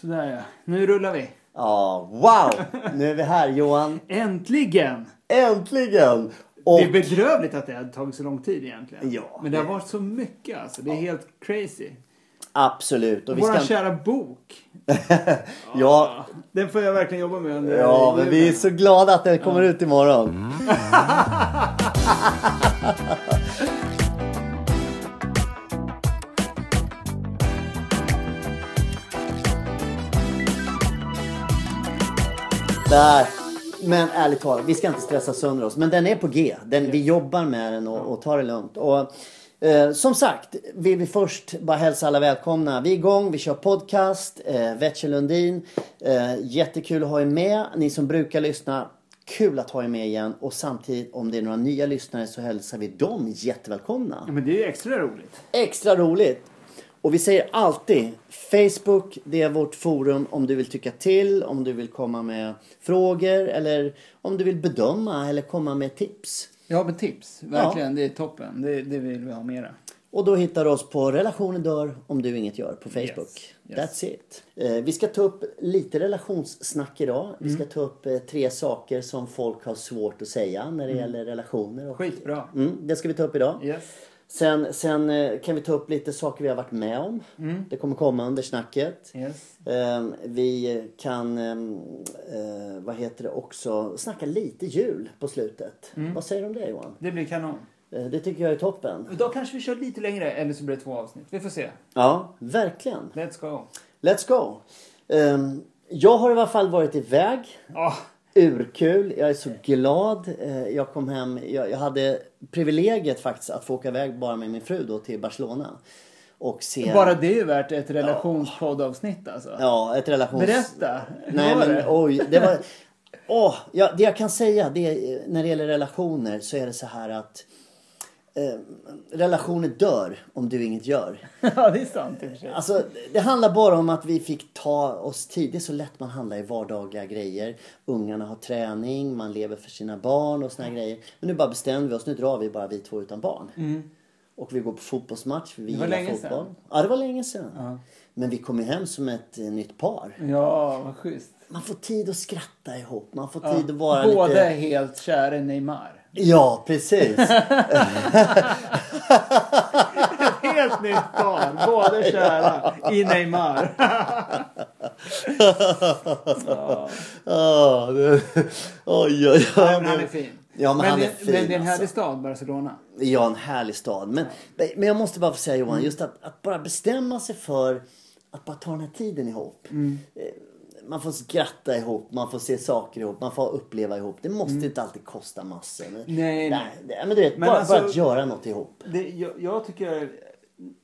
Sådär ja. Nu rullar vi. Ja, wow! Nu är vi här Johan. Äntligen! Äntligen! Och Det är bedrövligt att det har tagit så lång tid egentligen. Ja. Men det har varit så mycket alltså. Det är helt crazy. absolut. Och vi Vår ska... kära bok. ja, Den får jag verkligen jobba med under ja, men vi är julen. så glada att den kommer ut imorgon. Där. Men ärligt talat, vi ska inte stressa sönder oss. Men den är på G. Den, vi jobbar med den och, och tar det lugnt. Och, eh, som sagt, vill vi först bara hälsa alla välkomna. Vi är igång, vi kör podcast. Eh, Vetche Lundin. Eh, jättekul att ha er med. Ni som brukar lyssna, kul att ha er med igen. Och samtidigt, om det är några nya lyssnare så hälsar vi dem jättevälkomna Ja, men det är ju extra roligt. extra roligt. Och vi säger alltid Facebook, det är vårt forum om du vill tycka till, om du vill komma med frågor eller om du vill bedöma eller komma med tips. Ja, men tips. Verkligen. Det är toppen. Det, det vill vi ha mera. Och då hittar du oss på relationer dör om du inget gör på Facebook. Yes, yes. That's it. Eh, vi ska ta upp lite relationssnack idag. Vi Mm. ska ta upp eh, tre saker som folk har svårt att säga när det Mm. gäller relationer. Och, Skitbra. mm, det ska vi ta upp idag. Yes. Sen, sen eh, kan vi ta upp lite saker vi har varit med om. Mm. Det kommer komma under snacket. Yes. Eh, Vi kan, ehm, eh, vad heter det också, snacka lite jul på slutet. Mm. Vad säger du om det Johan? Det blir kanon. Eh, Det tycker jag är toppen. Då kanske vi kör lite längre eller så blir det två avsnitt. Vi får se. Ja, verkligen. Let's go. Let's go. Ehm, Jag har i alla fall varit iväg. Ah, Urkul. Jag är så glad. Eh, Jag kom hem. Jag, jag hade privilegiet faktiskt att få åka iväg bara med min fru då till Barcelona. Och se... bara det är ju värt ett relationspoddavsnitt alltså. Ja, ett relations... Berätta. Nej Hur var men det? oj, det var... Åh, ja, det jag kan säga det är, när det gäller relationer så är det så här att eh, relationer dör om du inget gör. ja, det är sant i och för sig. Alltså, det handlar bara om att vi fick ta oss tid. Det är så lätt man handlar i vardagliga grejer. Ungarna har träning, man lever för sina barn och såna här grejer. Men nu bara bestämde vi oss, nu drar vi bara vi två utan barn. Och vi går på fotbollsmatch, för vi Mm. Det var gillar länge fotboll. sedan. Ja, det var länge sedan. Ja. Men vi kom ju hem som ett eh, nytt par. Ja, vad schysst. Man får tid att skratta ihop. Man får Ja. tid att vara Båda är lite... helt kära i Neymar. Ja, precis. Helt nytt par. Båda är kära i Neymar. ja. oh, det... Oj, oj, oj. Nej, men han är fin. Ja, men han är det- fin, Men det är en härlig alltså. stad, Barcelona. Ja, en härlig stad. Men, men jag måste bara få säga Mm. Johan, just att, att bara bestämma sig för att bara ta den här tiden ihop. Mm. Eh, Man får skratta ihop, man får se saker ihop, man får uppleva ihop. Det måste inte alltid kosta massor. Men, Mm. nej. nej, men du vet, Men bara, alltså- bara att göra något ihop. Det, jag, jag tycker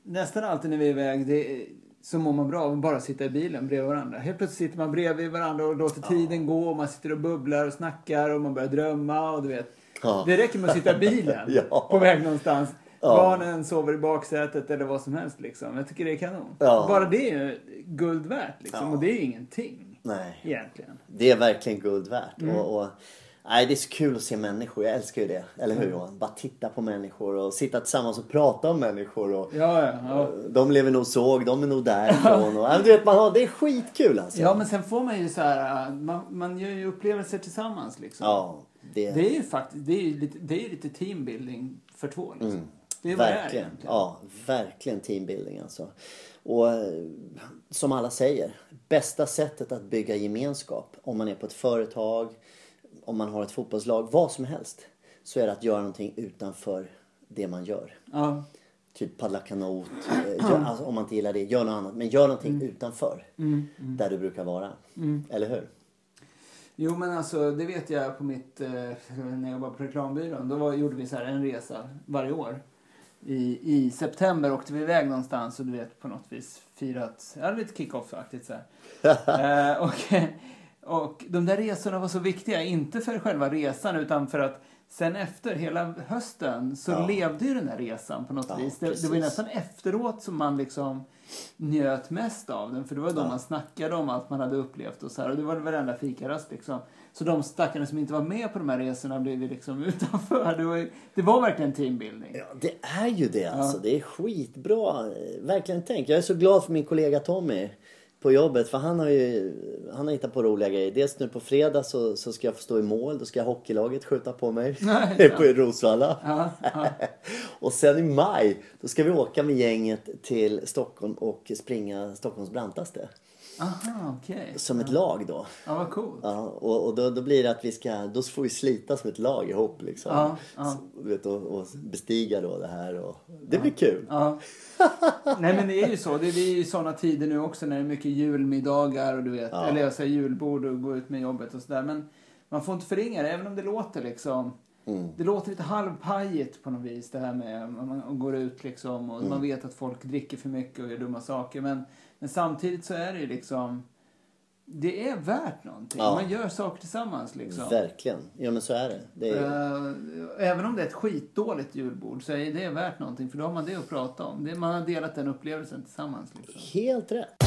nästan alltid när vi är iväg det, så mår man bra av att bara sitta i bilen bredvid varandra. Helt plötsligt sitter man bredvid varandra och låter tiden gå och man sitter och bubblar och snackar och man börjar drömma och du vet. Ja. Det räcker med att sitta i bilen Ja. på väg någonstans. Ja. Barnen sover i baksätet eller vad som helst liksom. Jag tycker det är kanon. Ja. Bara det är ju guld värt liksom Ja. och det är ju ingenting Nej. egentligen. Det är verkligen guld värt. Mm. Och, och, nej, det är så kul att se människor. Jag älskar ju det. Eller Mm. hur Johan? Bara titta på människor och sitta tillsammans och prata om människor. Och, Ja, ja, ja. De lever nog såg, de är nog därifrån. Och, ja, men du vet, man har, det är skitkul alltså. Ja, men sen får man ju så här, äh, man, man gör ju upplevelser tillsammans liksom. Ja, det, Det är ju faktiskt, det är ju lite, det är ju lite teambuilding för två liksom. Det är vad det är Mm. verkligen. egentligen. ja, verkligen teambuilding alltså. Och eh, som alla säger, bästa sättet att bygga gemenskap om man är på ett företag, om man har ett fotbollslag, vad som helst. Så är det att göra någonting utanför det man gör. Ja. Typ paddla kanot, eh, gör, alltså, om man inte gillar det, gör något annat. Men gör någonting Mm. utanför där du brukar vara. Eller hur? Jo men alltså det vet jag på mitt, eh, när jag var på reklambyrån. Då var, gjorde vi så här en resa varje år. I, I september åkte vi iväg någonstans och du vet på något vis firat, ja lite kick-off-aktigt så här. eh, och, och de där resorna var så viktiga, inte för själva resan utan för att sen efter, hela hösten, så Ja. levde ju den där resan på något Ja, vis. Det, det var ju precis. nästan efteråt som man liksom njöt mest av den. För det var då man snackade om allt man hade upplevt och så här. Och det var varenda fikarast liksom. Så de stackarna som inte var med på de här resorna blev ju liksom utanför. Det var, ju- det var verkligen teambuilding. Ja, det är ju det alltså. Det är skitbra. Eh, Verkligen tänkt. Jag är så glad för min kollega Tommy på jobbet för han har ju han har hittat på roliga grejer. Dels nu på fredag så, så ska jag få stå i mål, då ska hockeylaget skjuta på mig. Nej, på Rosvalla. Ja, ja. och sen i maj då ska vi åka med gänget till Stockholm och springa Stockholms brantaste. Aha, okej. Som ett lag då. Ja, vad coolt. Ja, och och då, då blir det att vi ska, då får vi slita som ett lag ihop liksom. Ja, ja. Så, du vet, och, och bestiga då det här och det blir kul. Ja. Nej men det är ju så. Det det är ju såna tider nu också när det är mycket julmiddagar och du vet. Ja. Eller jag säger julbord och gå ut med jobbet och sådär. Men man får inte förringa det även om det låter liksom. Mm. Det låter lite halvpajigt på något vis det här med att man går ut liksom Mm. och man vet att folk dricker för mycket och gör dumma saker. Men, men samtidigt så är det ju liksom. Det är värt någonting. Ja. Man gör saker tillsammans liksom. Verkligen. Ja men så är det. det är, Eh, Även om det är ett skitdåligt julbord så är det värt någonting för då har man det att prata om. Det- Man har delat den upplevelsen tillsammans. Liksom. Helt rätt.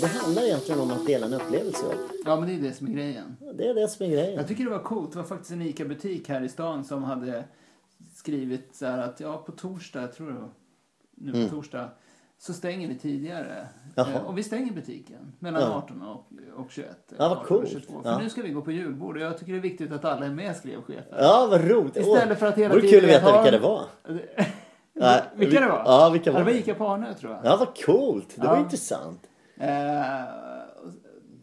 Det handlar egentligen om att dela en upplevelse. Joel. Ja men det är det som är grejen. Det är det som är grejen. Jag tycker det var coolt. Det var faktiskt en ICA-butik här i stan som hade skrivit så här att ja på torsdag, jag tror det var, nu på torsdag, så stänger vi tidigare. Mm. Jaha. Eh, Och vi stänger butiken mellan Ja. 18 och, och 21. Ja, vad 18 och coolt. 22. För Ja. nu ska vi gå på julbord och jag tycker det är viktigt att alla är med skrev chefen. Ja, vad roligt. Istället för att hela Åh, vore tiden kul att veta ha- vilka det var. Nej, vilka det var? Ja, vilka var det var det? ICA på Arnö tror jag. Ja, vad coolt. Det var Ja. intressant. Eh, och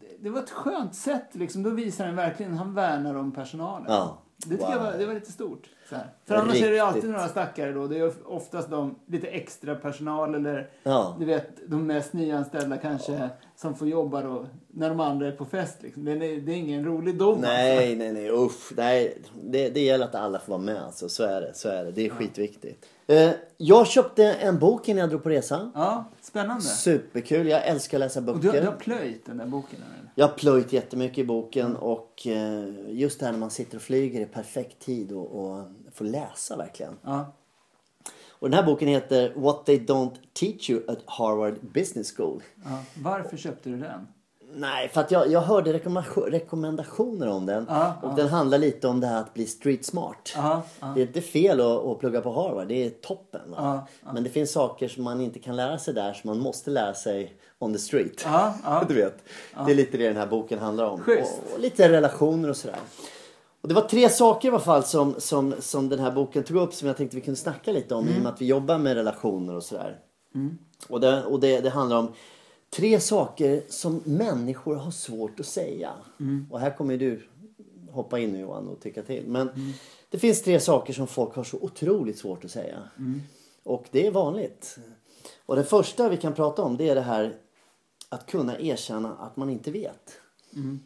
det- det var ett skönt sätt. Liksom. Då visar han verkligen han värnar om personalen. Ja. Det tycker jag Wow. var, det var lite stort. Så här. För annars är det ju alltid Riktigt. några stackare då. Det är oftast de lite extra personal eller Ja. du vet de mest nyanställda kanske som får jobba då när de andra är på fest. Liksom. Det, är, det är ingen rolig dom. alltså. Nej, nej, nej. Usch. Nej, det, det gäller att alla får vara med. Alltså. Så är det. Så är det. Det är skitviktigt. Eh, jag köpte en bok innan jag drog på resan. Ja, spännande. Superkul. Jag älskar att läsa Och böcker. du, du har plöjt den där boken? Eller? Jag har plöjt jättemycket i boken Mm. och eh, just det här när man sitter och flyger är perfekt tid och, och få läsa verkligen. Ja. Och den här boken heter What they don't teach you at Harvard Business School. ja. Varför köpte du den? Nej, för att jag, jag hörde rekommendation- rekommendationer om den Ja, och ja. den handlar lite om det här att bli street smart. Ja, ja. Det är inte fel att, att plugga på Harvard, det är toppen. Va? Ja, Men det finns saker som man inte kan lära sig där som man måste lära sig on the street. Ja, ja. Du vet, det är lite det den här boken handlar om. Schysst. Och, och lite relationer och sådär. Och det var tre saker i alla fall som, som, som den här boken tog upp som jag tänkte vi kunde snacka lite om i och med att vi jobbar med relationer och sådär. Och, det, och det, det handlar om tre saker som människor har svårt att säga. Och här kommer ju du hoppa in nu Johan och tycka till. Men det finns tre saker som folk har så otroligt svårt att säga. Och det är vanligt. Och den första vi kan prata om det är det här att kunna erkänna att man inte vet.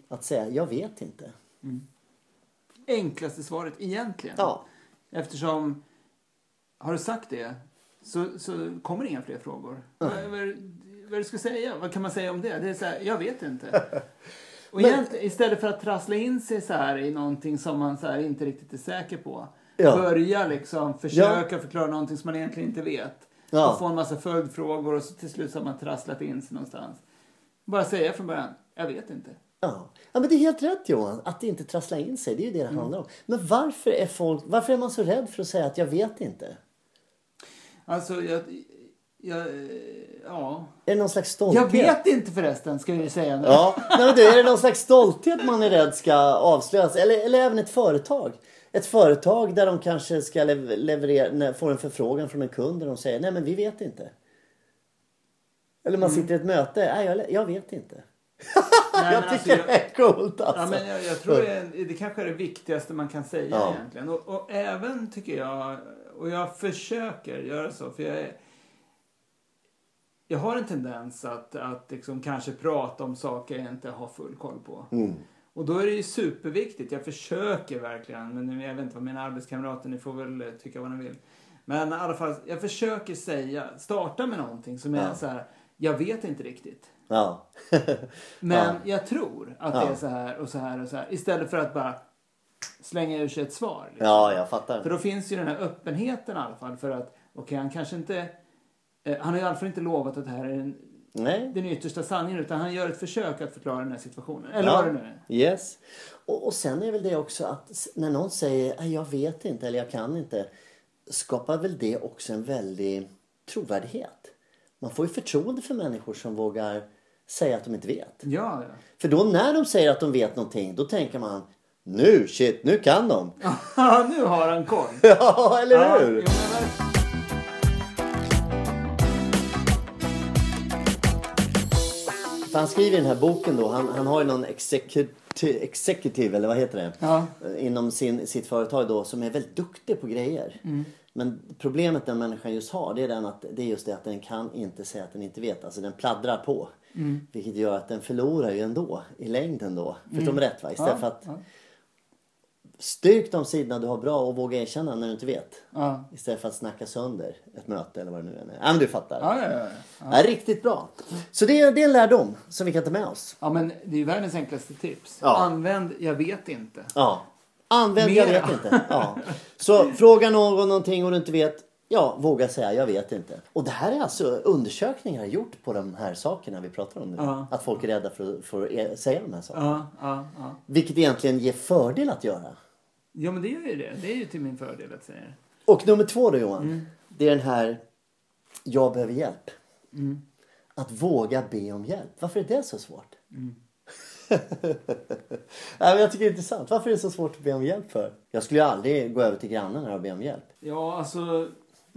Att säga jag vet inte. enklaste svaret egentligen. Ja. Eftersom, har du sagt det så, så kommer det inga fler frågor. Vad, vad, vad du ska säga? Vad kan man säga om det? Det är så här, jag vet inte. Och Men- egentligen, istället för att trassla in sig så här i någonting som man så här inte riktigt är säker på. Ja. Börja liksom försöka förklara någonting som man egentligen inte vet. Ja. Och få en massa följdfrågor och så till slut så har man trasslat in sig någonstans. Bara säga från början, jag vet inte. Ja. ja, men det är helt rätt Johan. Att inte trassla in sig, det är ju det det Mm. handlar om. Men varför är, folk, varför är man så rädd för att säga att jag vet inte? Alltså, jag... jag ja. Är det någon slags Jag stolthet? vet inte förresten, ska vi säga nu. Ja, Nej, men du, är det någon slags stolthet man är rädd ska avslöjas? Eller, eller även ett företag? Ett företag där de kanske ska lev- leverera, när- får en förfrågan från en kund och de säger nej men vi vet inte. Eller Mm. man sitter i ett möte, nej jag, jag vet inte. Nej, jag men tycker alltså, det är coolt alltså. Ja, men jag, jag tror det, är- det kanske är det viktigaste man kan säga Ja. egentligen. Och, och även tycker jag, och jag försöker göra så för jag är, jag har en tendens att, att liksom kanske prata om saker jag inte har full koll på. Mm. Och då är det ju superviktigt, jag försöker verkligen, men jag vet inte vad mina arbetskamrater, ni får väl eh, tycka vad ni vill. Men i alla fall, jag försöker säga, starta med någonting som är Ja. så här, jag vet inte riktigt. Ja. Men Ja. jag tror att Ja. det är så här och så här och så här. Istället för att bara slänga ur sig ett svar. liksom. ja, jag För fattar. då finns ju den här öppenheten i alla fall för att okej han kanske inte eh, han har ju i alla fall inte lovat att det här är den, Nej. den yttersta sanningen utan han gör ett försök att förklara den här situationen. Eller Ja. vad det nu är. Yes. Och, och sen är väl det också att s- när någon säger "Nej, jag vet inte eller jag kan inte. skapar väl det också en väldig trovärdighet. Man får ju förtroende för människor som vågar säga att de inte vet. Ja, ja. För då när de säger att de vet någonting, då tänker man nu, shit, nu kan de. Ja, nu har han koll. Ja, eller Ja, hur? jo, men verkligen. För han skriver i den här boken då, han, han har ju någon executive, executive eller vad heter det? Ja. Eh, Inom sin, sitt företag då som är väldigt duktig på grejer. Mm. Men problemet den människan just har det är, den att, det är just det att den kan inte säga att den inte vet. Alltså den pladdrar på. Mm. Vilket gör att den förlorar ju ändå i längden då. Förstår mig rätt va? Istället Mm. Ja, för att ja. styrk de sidorna du har bra och våga erkänna när du inte vet. Ja. Istället för att snacka sönder ett möte eller vad det nu än är. Ja men du fattar. Ja, ja, ja, ja. Ja, riktigt bra. Så det är, det är en lärdom som vi kan ta med oss. ja, men det är ju världens enklaste tips. Ja. Använd jag vet inte. Ja. Använd, jag Mera. vet inte. Ja. Så fråga någon någonting och du inte vet. Ja, våga säga, jag vet inte. Och det här är alltså undersökningar gjort på de här sakerna vi pratar om nu. Ja. Att folk är rädda för, för att e- säga de här sakerna. Ja, ja, ja. Vilket egentligen ger fördel att göra. Ja, men det gör ju det. Det är ju till min fördel att säga det. Och nummer två då Johan. Mm. Det är den här, jag behöver hjälp. Mm. Att våga be om hjälp. Varför är det så svårt? Mm. Nej, men jag tycker det är intressant. Varför är det så svårt att be om hjälp för? Jag skulle ju aldrig gå över till grannen här och be om hjälp. Ja, alltså.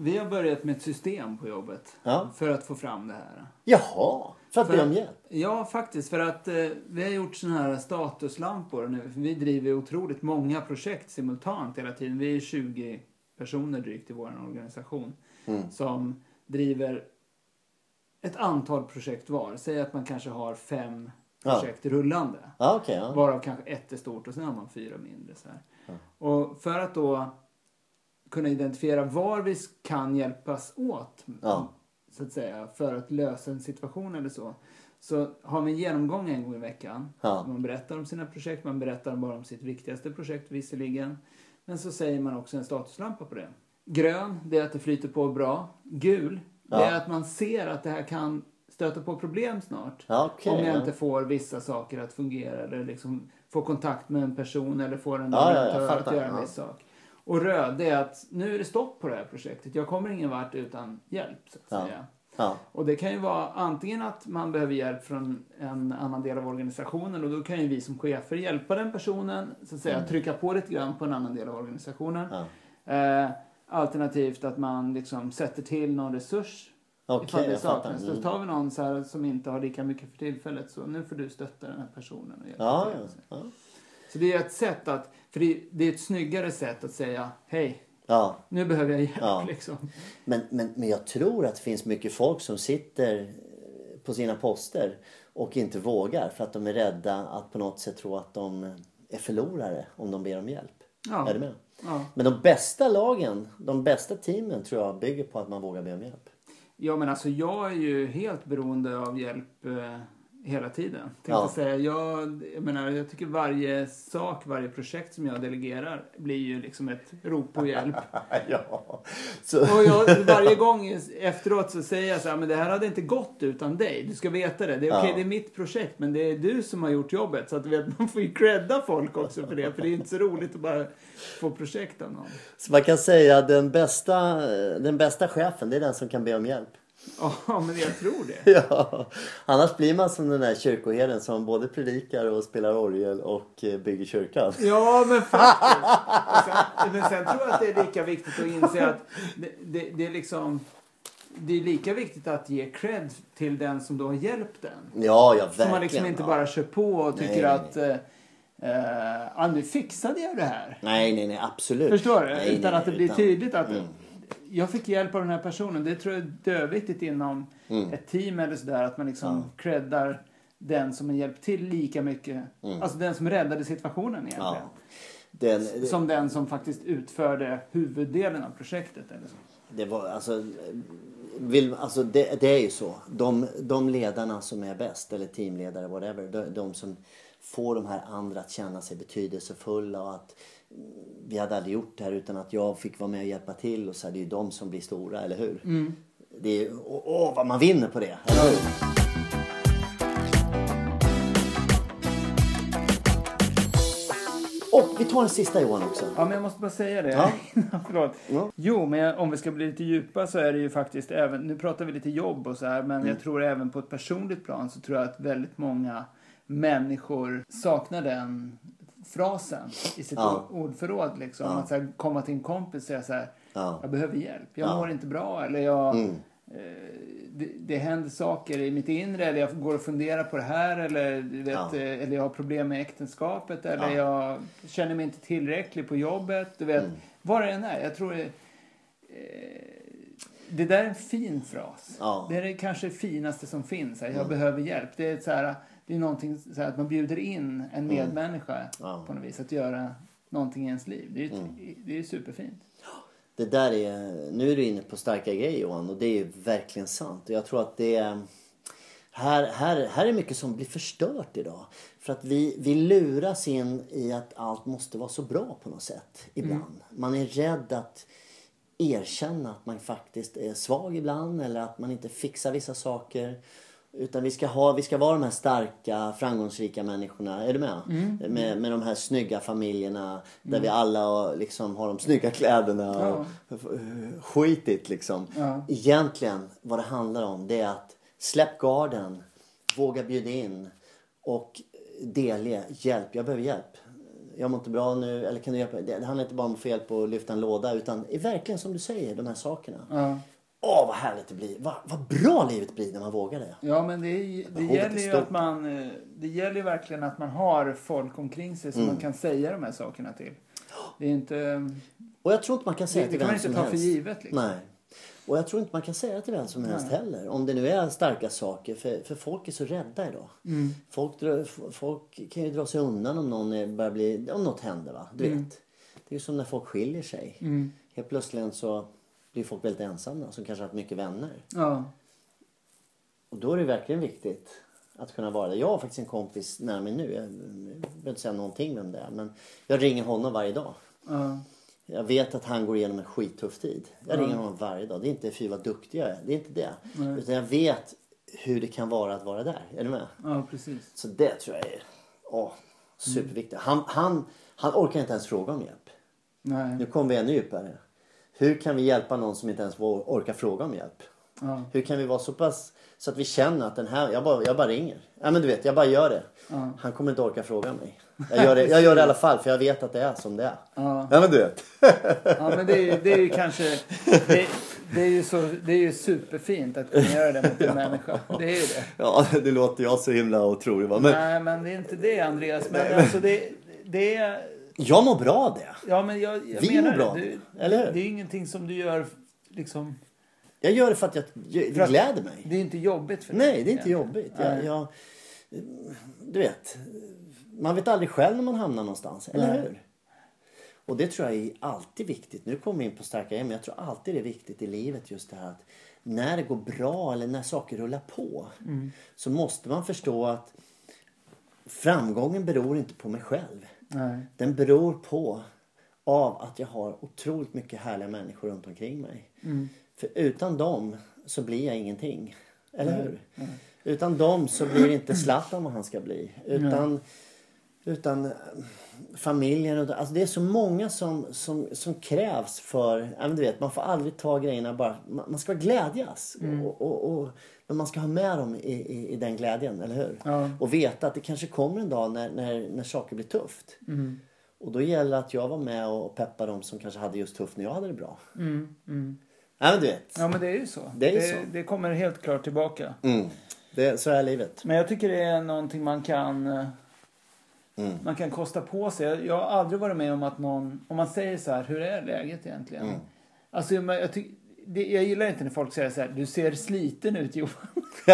Vi har börjat med ett system på jobbet Ja. för att få fram det här. Jaha, för att För be att- om hjälp? Ja, faktiskt. För att eh, vi har gjort såna här statuslampor nu. För vi driver otroligt många projekt simultant hela tiden. Vi är 20 personer drygt i vår organisation Mm. som driver ett antal projekt var. Säg att man kanske har fem Ja. projekt rullande. Ja, okej. ja. Varav kanske ett är stort och sen har man fyra mindre. Så här. Och för att då kunna identifiera var vi kan hjälpas åt Ja. så att säga, för att lösa en situation eller så. Så har vi en genomgång en gång i veckan. Ja. Man berättar om sina projekt, man berättar bara om sitt viktigaste projekt visserligen. Men så säger man också en statuslampa på det. Grön, det är att det flyter på bra. Gul, det Ja. är att man ser att det här kan stöta på problem snart. Ja, okej, om jag ja. inte får vissa saker att fungera eller liksom får kontakt med en person eller får en Ja, ja, jag leverantör fattar, att göra en ja. viss sak. Och röd, det är att nu är det stopp på det här projektet. Jag kommer ingen vart utan hjälp. Så att Ja. säga. Ja. Och det kan ju vara antingen att man behöver hjälp från en annan del av organisationen och då kan ju vi som chefer hjälpa den personen, så att säga, Mm. trycka på lite grann på en annan del av organisationen. Ja. Eh, alternativt att man liksom sätter till någon resurs Okej, ifall det jag fattar. saknas. Mm. Så tar vi någon så här som inte har lika mycket för tillfället så nu får du stötta den här personen och hjälpa Ja, till. ja. ja. Så det är ett sätt att, för det, det är ett snyggare sätt att säga hej, ja. nu behöver jag hjälp Ja. liksom. Men, men, men jag tror att det finns mycket folk som sitter eh, på sina poster och inte vågar för att de är rädda att på något sätt tro att de eh, är förlorare om de ber om hjälp. Ja. Är du med? Ja. Men de bästa lagen, de bästa teamen tror jag bygger på att man vågar be om hjälp. Ja, men alltså jag är ju helt beroende av hjälp eh, hela tiden. Tänkte Ja. säga. Jag, jag, menar, jag tycker varje sak, varje projekt som jag delegerar blir ju liksom ett rop på hjälp. ja. Så, Och jag, varje gång efteråt så säger jag så här, men det här hade inte gått utan dig. Du ska veta det. Det är okej, Ja. det är mitt projekt, men det är du som har gjort jobbet. Så att du vet, man får ju credda folk också för det. För det är inte så roligt att bara få projekt av någon. så man kan säga att den bästa, eh, den bästa chefen, det är den som kan be om hjälp. Ja, men jag tror det. Ja, annars blir man som den där kyrkoherden som både predikar och spelar orgel och eh, bygger kyrkan. Ja, men faktiskt. Och Sen, men sen tror jag att det är lika viktigt att inse att det, det, det är liksom... Det är lika viktigt att ge cred till den som då har hjälpt den. Ja, ja, verkligen. Så man liksom inte ja. bara kör på och tycker Nej, nej, att... eh, Eh, ah, nu fixade jag det här. Nej, nej, nej, absolut. Förstår du? Nej, utan nej, att det blir utan- Mm. tydligt att jag fick hjälp av den här personen. Det tror jag är döviktigt inom Mm. ett team eller sådär. Att man liksom creddar den som har hjälpt till lika mycket. Alltså den som räddade situationen egentligen. Mm. Ja. Den, det, Som den som faktiskt utförde huvuddelen av projektet. Eller så. det var, alltså, vill, alltså det, det är ju så. De, de ledarna som är bäst, eller teamledare, whatever, de, de som får de här andra att känna sig betydelsefulla och att vi hade aldrig gjort det här utan att jag fick vara med och hjälpa till och så här, det är ju de som blir stora, eller hur? Det är, ju- åh, åh, vad man vinner på det, eller hur? Och vi tar den sista Johan också. Ja, men jag måste bara säga det. Ja. innan, Förlåt. Ja. Jo, men jag- om vi ska bli lite djupa så är det ju faktiskt även, nu pratar vi lite jobb och så här, men Mm. jag tror även på ett personligt plan så tror jag att väldigt många människor saknar den frasen i sitt Ja. ord- ordförråd. Liksom. Att så här, komma till en kompis och säga så här, Ja. jag behöver hjälp, jag Ja. mår inte bra eller jag, Mm. eh, det, det händer saker i mitt inre eller jag går och funderar på det här eller, du vet, Ja. eh, eller jag har problem med äktenskapet eller Ja. Mm. jag känner mig inte tillräcklig på jobbet. Du vet, vad det än är. Jag tror det, eh, det där är en fin fras. Ja. Mm. Det är det kanske finaste som finns. Här. Jag behöver hjälp. Det är, så här, det är någonting så här, att man bjuder in en medmänniska Mm. Ja. Mm. på något vis att göra någonting i ens liv. Det är ju det är ju superfint. Det där är, nu är du inne på starka grejer Johan och det är ju verkligen sant. Och jag tror att det är, här, här, här är mycket som blir förstört idag. För att vi, vi luras in i att allt måste vara så bra på något sätt ibland. Man är rädd att erkänna att man faktiskt är svag ibland eller att man inte fixar vissa saker. Utan vi ska, ha, vi ska vara de här starka, framgångsrika människorna. Är du med? Med, med de här snygga familjerna där vi alla liksom har de snygga kläderna och eh, skitigt liksom. Ja. Egentligen vad det handlar om det är att släpp garden, våga bjuda in och delge hjälp. Jag behöver hjälp. Jag mår inte bra nu, eller kan du hjälpa mig? Det det handlar inte bara om att få hjälp att lyfta en låda utan är verkligen som du säger, de här sakerna. Ja. Åh, vad härligt det blir. Vad, vad bra livet blir när man vågar det. Ja, men det, är- det Behovet är gäller ju stort. att man... eh, Det gäller ju verkligen att man har folk omkring sig som man kan säga de här sakerna till. Det är inte... Och Mm. jag tror inte man kan säga Det- det till kan man vem inte som ta för helst. givet, liksom. Nej. Och jag tror inte man kan säga till vem som helst heller. Om det nu är starka saker. För, för folk är så rädda idag. Mm. Folk, drar- f- folk kan ju dra sig undan om, någon är, börjar bli, om något händer. Va? Du Mm. vet. Det är ju som när folk skiljer sig. Helt plötsligt så blir folk väldigt ensamma. Som kanske har haft mycket vänner. Ja. Och då är det verkligen viktigt att kunna vara där. Jag har faktiskt en kompis nära mig nu. Jag behöver inte säga någonting vem det är. Men jag ringer honom varje dag. ja. Jag vet att han går igenom en skittuff tid. Jag ringer honom varje dag. Det är inte fy vad duktig jag är. Det är inte det. Utan jag vet hur det kan vara att vara där. Är du med? Ja, precis. Så det tror jag är åh, superviktigt. Han, han, han orkar inte ens fråga om hjälp. Nu Nej. kommer vi ännu djupare. Hur kan vi hjälpa någon som inte ens vå- orkar fråga om hjälp? Ja. Hur kan vi vara så pass så att vi känner att den här, jag bara, jag bara ringer. Ja men du vet, jag bara gör det. Han kommer inte orka fråga mig. Jag gör, det, jag gör det i alla fall för jag vet att det är som det är. Ja. men du vet. Ja, men det är, ju- det är ju kanske... Det, det, är ju så, det är ju superfint att kunna göra det mot en människa. Det är ju det. Ja, det låter jag så himla otrolig. va? Men Nej, men det är inte det, Andreas. Men alltså det, det är... jag mår bra av det. Ja, men jag, jag Vi menar mår bra av det. det, Du, eller hur? Det är ju ingenting som du gör liksom... Jag gör det för att jag, det För att- gläder mig. Det är inte jobbigt för dig. Nej, det är inte jobbigt. Jag, Nej. jag, du vet, man vet aldrig själv när man hamnar någonstans, eller Nej. hur? Och det tror jag är alltid viktigt. Nu kommer vi in på starka hem, men jag tror alltid det är viktigt i livet just det här att när det går bra eller när saker rullar på Mm. så måste man förstå att framgången beror inte på mig själv. Nej. Den beror på av att jag har otroligt mycket härliga människor runt omkring mig. För utan dem så blir jag ingenting. Eller hur? Utan dem så blir inte Zlatan vad han ska bli. Utan, utan eh, familjen. och- Alltså det är så många som, som, som krävs för... ja, men Du vet, man får aldrig ta grejerna bara... Man, man ska glädjas. Och, och, och, men man ska ha med dem i, i, i den glädjen, eller hur? Ja. Och veta att det kanske kommer en dag när, när, när saker blir tufft. Mm. Och då gäller det att jag var med och peppade dem som kanske hade just tufft när jag hade det bra. Mm, mm. Ja men du vet. Ja, men det är ju så. Det är ju det, så. det kommer helt klart tillbaka. Mm. Det, så är livet. Men jag tycker det är någonting man kan... eh, Mm. Man kan kosta på sig. Jag- Jag har aldrig varit med om att någon... Om man säger så här, hur är läget egentligen? Mm. Alltså, jag, jag, tyck, det, jag gillar inte när folk säger så här, du ser sliten ut Johan.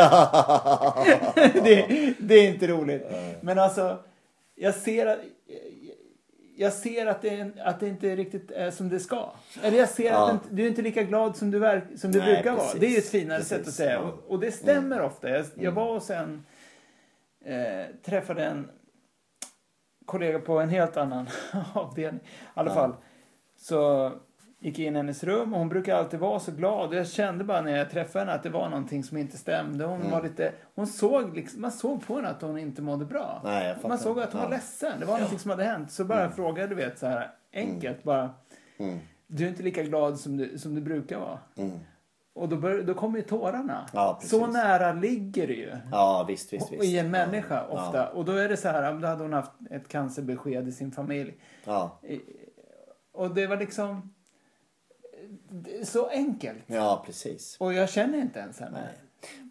det, det är inte roligt. Men alltså, jag ser att... Jag ser att det, att det inte riktigt är som det ska. Eller jag ser att Ja. du inte- du är inte lika glad som du, verk, som du Nej, brukar vara. precis. Det är ju ett finare Precis. sätt att säga. Ja. Mm. Och, och det stämmer ofta. Jag, jag var och sen eh, träffade en kollega på en helt annan avdelning. I alla fall. Så Gick in i hennes rum och hon brukar alltid vara så glad. Jag kände bara när jag träffade henne att det var någonting som inte stämde. Mm. Hon var lite, hon såg liksom, man såg på henne att hon inte mådde bra. Nej, jag fattar. man såg att hon Ja. Mm. var ledsen. Det var någonting som hade hänt. Så bara frågade du vet så här enkelt bara. Mm. Du är inte lika glad som du, som du brukar vara. Och då, bör, då kommer ju tårarna. Mm. Ja, precis. så nära ligger det ju. Ja, visst, visst, visst. I en människa ofta. Ja. Och då är det så här, då hade hon haft ett cancerbesked i sin familj. Ja, Och det var liksom det är så enkelt. ja precis. Och jag känner inte ens henne.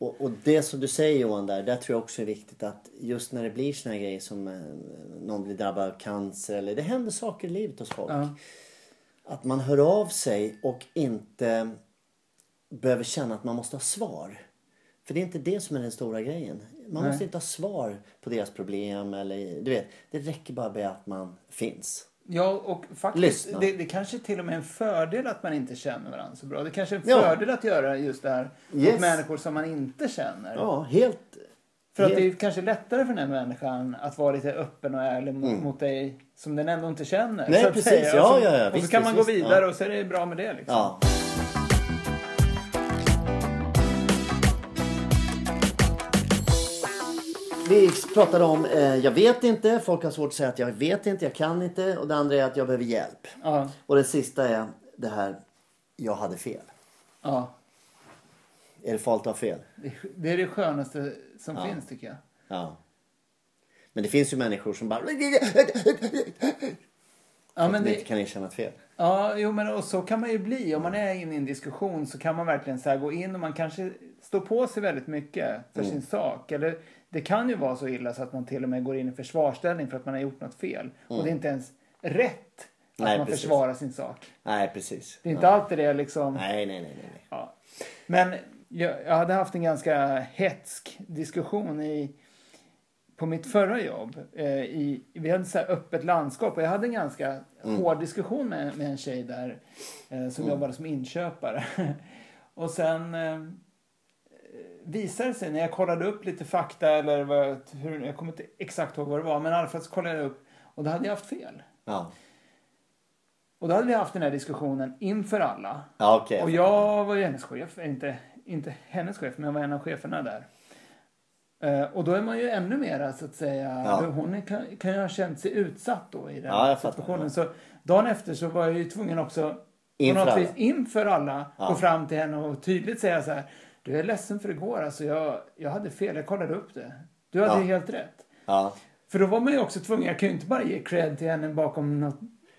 Och, och det som du säger Johan där, där tror jag också är viktigt att just när det blir såna här grejer som eh, någon blir drabbad av cancer eller det händer saker i livet hos folk. Ja. Att man hör av sig och inte behöver känna att man måste ha svar. För det är inte det som är den stora grejen. Man måste inte ha svar på deras problem eller du vet. Det räcker bara med att man finns. Ja, och faktiskt, Lyssna. det, det kanske till och med är en fördel att man inte känner varandra så bra. Det kanske är en Ja. fördel att göra just det här mot Yes. människor som man inte känner. Ja, helt... För att helt- det är kanske lättare för den här människan att vara lite öppen och ärlig mot, mot dig som den ändå inte känner. Mm. Nej, så att precis. säga. Ja, och så, ja, ja. Och så Visst, kan man visst, gå visst. vidare Ja. och så är det bra med det liksom. Ja. Vi pratade om eh, jag vet inte, folk har svårt att säga att jag vet inte, jag kan inte och det andra är att jag behöver hjälp. Ja, Och det sista är det här, jag hade fel. ja. Är det farligt att ha fel? Det är det skönaste som Ja. finns tycker jag. Ja. Men det finns ju människor som bara Ja, men men det, inte kan erkänna ett fel. Ja, jo, men och så kan man ju bli. Om man är inne i en diskussion så kan man verkligen så här gå in och man kanske står på sig väldigt mycket för Mm. sin sak. Eller det kan ju vara så illa så att man till och med går in i försvarställning för att man har gjort något fel. Och det är inte ens rätt att Mm. Nej, man precis. försvarar sin sak. Nej, precis. Det är inte alltid det liksom. Nej, nej, nej, nej. nej. Ja. Men jag, jag hade haft en ganska hetsk diskussion i, på mitt förra jobb. Eh, i, vi hade så här öppet landskap och jag hade en ganska hård diskussion med, med en tjej där eh, som jobbade som inköpare. och sen eh, visade det sig när jag kollade upp lite fakta eller vad, jag- hur, jag kommer inte exakt ihåg vad det var men i alla fall så kollade jag upp och då hade jag haft fel. Ja, Och då hade vi haft den här diskussionen inför alla. ja okej. Och jag var ju hennes chef, eh, inte, inte hennes chef, men jag var en av cheferna där. Eh, och då är man ju ännu mer så att säga, Ja. hon är, kan, kan ju ha känt sig utsatt då i den Ja, jag fattar. situationen. Så dagen efter så var jag ju tvungen också Inför på något alla. vis inför alla Ja. gå fram till henne och tydligt säga så här. Du jag är ledsen för igår, alltså jag, jag hade fel, jag kollade upp det. Du hade Ja. ju helt rätt. Ja. För då var man ju också tvungen, jag kan ju inte bara ge cred till henne bakom något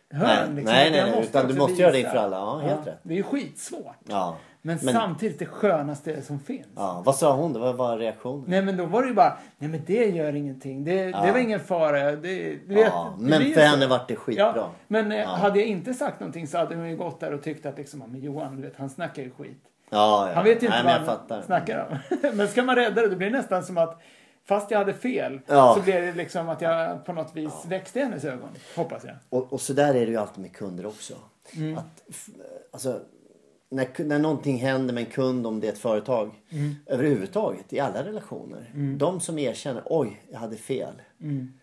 hörn. Nej, liksom, nej, utan nej, jag nej, utan du också måste göra det visa. inför alla. Ja, helt rätt. Det är ju skitsvårt. Ja. Men, samtidigt det skönaste som finns. Ja, vad sa hon? Det var bara reaktionen. Nej men då var det ju bara, nej men det gör ingenting. Det, det var ingen fara. Det, du vet, Ja, det blir ju men för så. henne vart det skitbra. Ja, men eh, hade jag inte sagt någonting så hade hon ju gått där och tyckt att liksom, ja, men Johan, du vet, han snackar ju skit. ja, ja. Han vet ju inte Nej, men jag vad han fattar. snackar om. men ska man rädda det, det blir nästan som att fast jag hade fel Ja. så blev det liksom att jag på något vis växte i hennes ögon. Hoppas jag. Och, och så där är det ju alltid med kunder också. Mm. Att, f- alltså, när, ku- när någonting händer med en kund, om det är ett företag, Mm. överhuvudtaget i alla relationer. De som erkänner, oj, jag hade fel. Mm.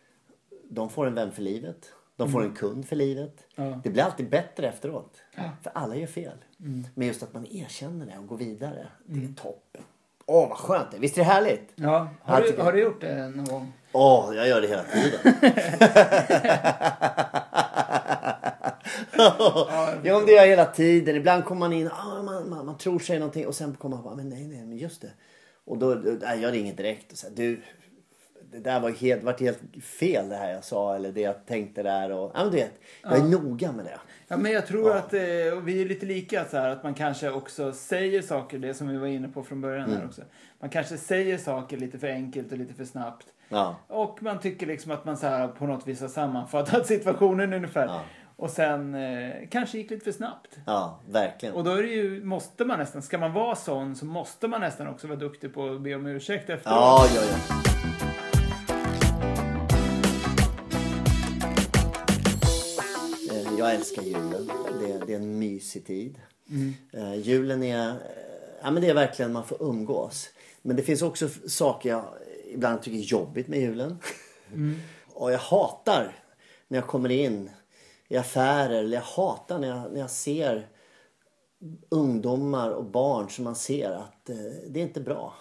De får en vän för livet. De får en kund för livet. Ja. Det blir alltid bättre efteråt. För alla gör fel. Mm. Men just att man erkänner det och går vidare. Det är toppen. Åh, vad skönt det är. Visst är det härligt? Ja, Ja, har, du, tycker jag. har du gjort det någon gång? Åh, jag gör det hela tiden. ja, men det gör jag hela tiden. Ibland kommer man in, ah, man, man, man tror sig någonting och sen kommer man bara, men nej, nej, men just det. Och då, nej, jag ringer direkt och säger, du, det där var helt, vart helt fel det här jag sa eller det jag tänkte där och, ja men du vet, jag är noga med det. Ja, men jag tror att eh, och vi är lite lika så här att man kanske också säger saker, det som vi var inne på från början Mm. här också. Man kanske säger saker lite för enkelt och lite för snabbt. Ja, Och man tycker liksom att man så här på något vis har sammanfattat situationen ungefär. Ja. Och sen eh, kanske gick lite för snabbt. ja, verkligen. Och då är det ju, måste man nästan, ska man vara sån så måste man nästan också vara duktig på att be om ursäkt efteråt. Ja, ja, ja. Eh, Jag älskar julen. Det, det är en mysig tid. Eh, julen är... eh, Ja, men det är verkligen man får umgås. Men det finns också f- saker jag ibland tycker är jobbigt med julen. Mm. Och jag hatar när jag kommer in i affärer. Eller jag hatar när jag, när jag ser ungdomar och barn som man ser att eh, det är inte bra.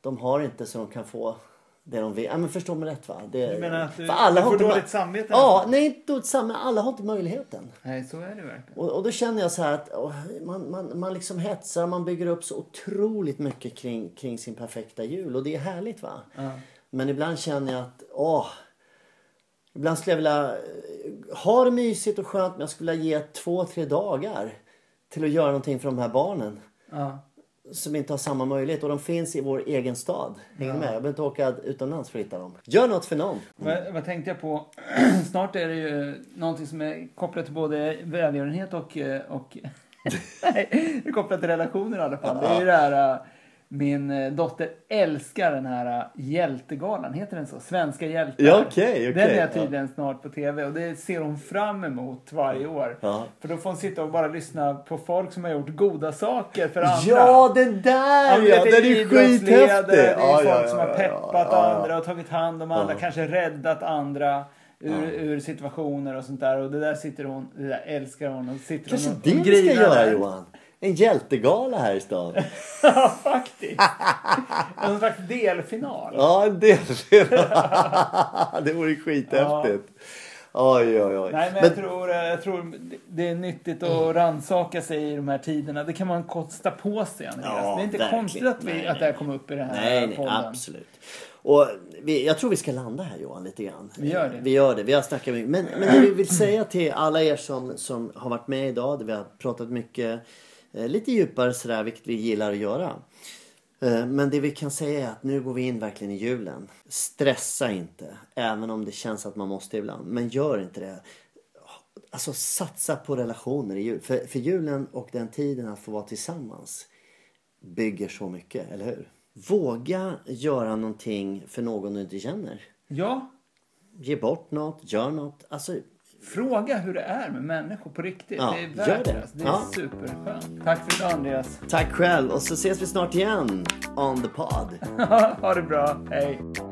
De har inte så de kan få det de vill. Ja, men förstå mig rätt va? Det, Du menar att du- för alla du har får inte dåligt ma- samvete Ja, nästan? nej inte dåligt samvete. Alla har inte möjligheten. Nej, så är det verkligen. Och, och då känner jag så här att åh, man, man, man liksom hetsar, man bygger upp så otroligt mycket kring, kring sin perfekta jul och det är härligt va? Men ibland känner jag att, åh. Ibland skulle jag vilja eh, ha det mysigt och skönt men jag skulle vilja ge två, tre dagar till att göra någonting för de här barnen Ja. som inte har samma möjlighet och de finns i vår egen stad. Hänger du med? Jag behöver inte åka utomlands för att hitta dem. Gör något för någon. Vad, vad tänkte jag på? Snart är det ju någonting som är kopplat till både välgörenhet och... eh, och nej, det är kopplat till relationer i alla fall. Det är ju det här... eh, Min eh, dotter älskar den här eh, hjältegalan. Heter den så? Svenska hjältar. Ja, okej, okej, Den är ja. tydligen snart på tv och det ser hon fram emot varje år. Ja. För då får hon sitta och bara lyssna på folk som har gjort goda saker för andra. Ja, den där men ja! det Den är ju idrottsledare, skithäftig! Det är Ja, folk ja, som ja, har ja, peppat ja, ja. andra och tagit hand om andra, Ja. kanske räddat andra ur, ur situationer och sånt där. Och det där sitter hon, det där älskar hon. Och sitter Kanske hon och, det och vi ska grinar göra där. Johan? En hjältegala här i stan. Ja, faktiskt. en slags delfinal. Ja, en delfinal. det vore skithäftigt. Oj, oj, oj. Nej, men, jag, tror, eh, jag tror det är nyttigt att Mm. rannsaka sig i de här tiderna. Det kan man kosta på sig, Andreas. Ja, det är inte verkligen. konstigt att, vi, Nej, att det här kom upp i den här nej, nej, podden. absolut. Och vi, jag tror vi ska landa här Johan lite grann. Vi gör det. Vi gör det. Vi har snackat mycket. Men, men det vi vill säga till alla er som, som har varit med idag. Där vi har pratat mycket eh, lite djupare sådär vilket vi gillar att göra. Eh, Men det vi kan säga är att nu går vi in verkligen i julen. Stressa inte. Även om det känns att man måste ibland. Men gör inte det. Alltså satsa på relationer i jul. För, för julen och den tiden att få vara tillsammans bygger så mycket, eller hur? Våga göra någonting för någon du inte känner. Ja, Ge bort något, gör något. Alltså, Fråga hur det är med människor på riktigt. Ja, det är gör det. värdelöst. Det är Ja. superskönt. Tack för idag Andreas. tack själv och så ses vi snart igen on the pod. ha det bra. Hej.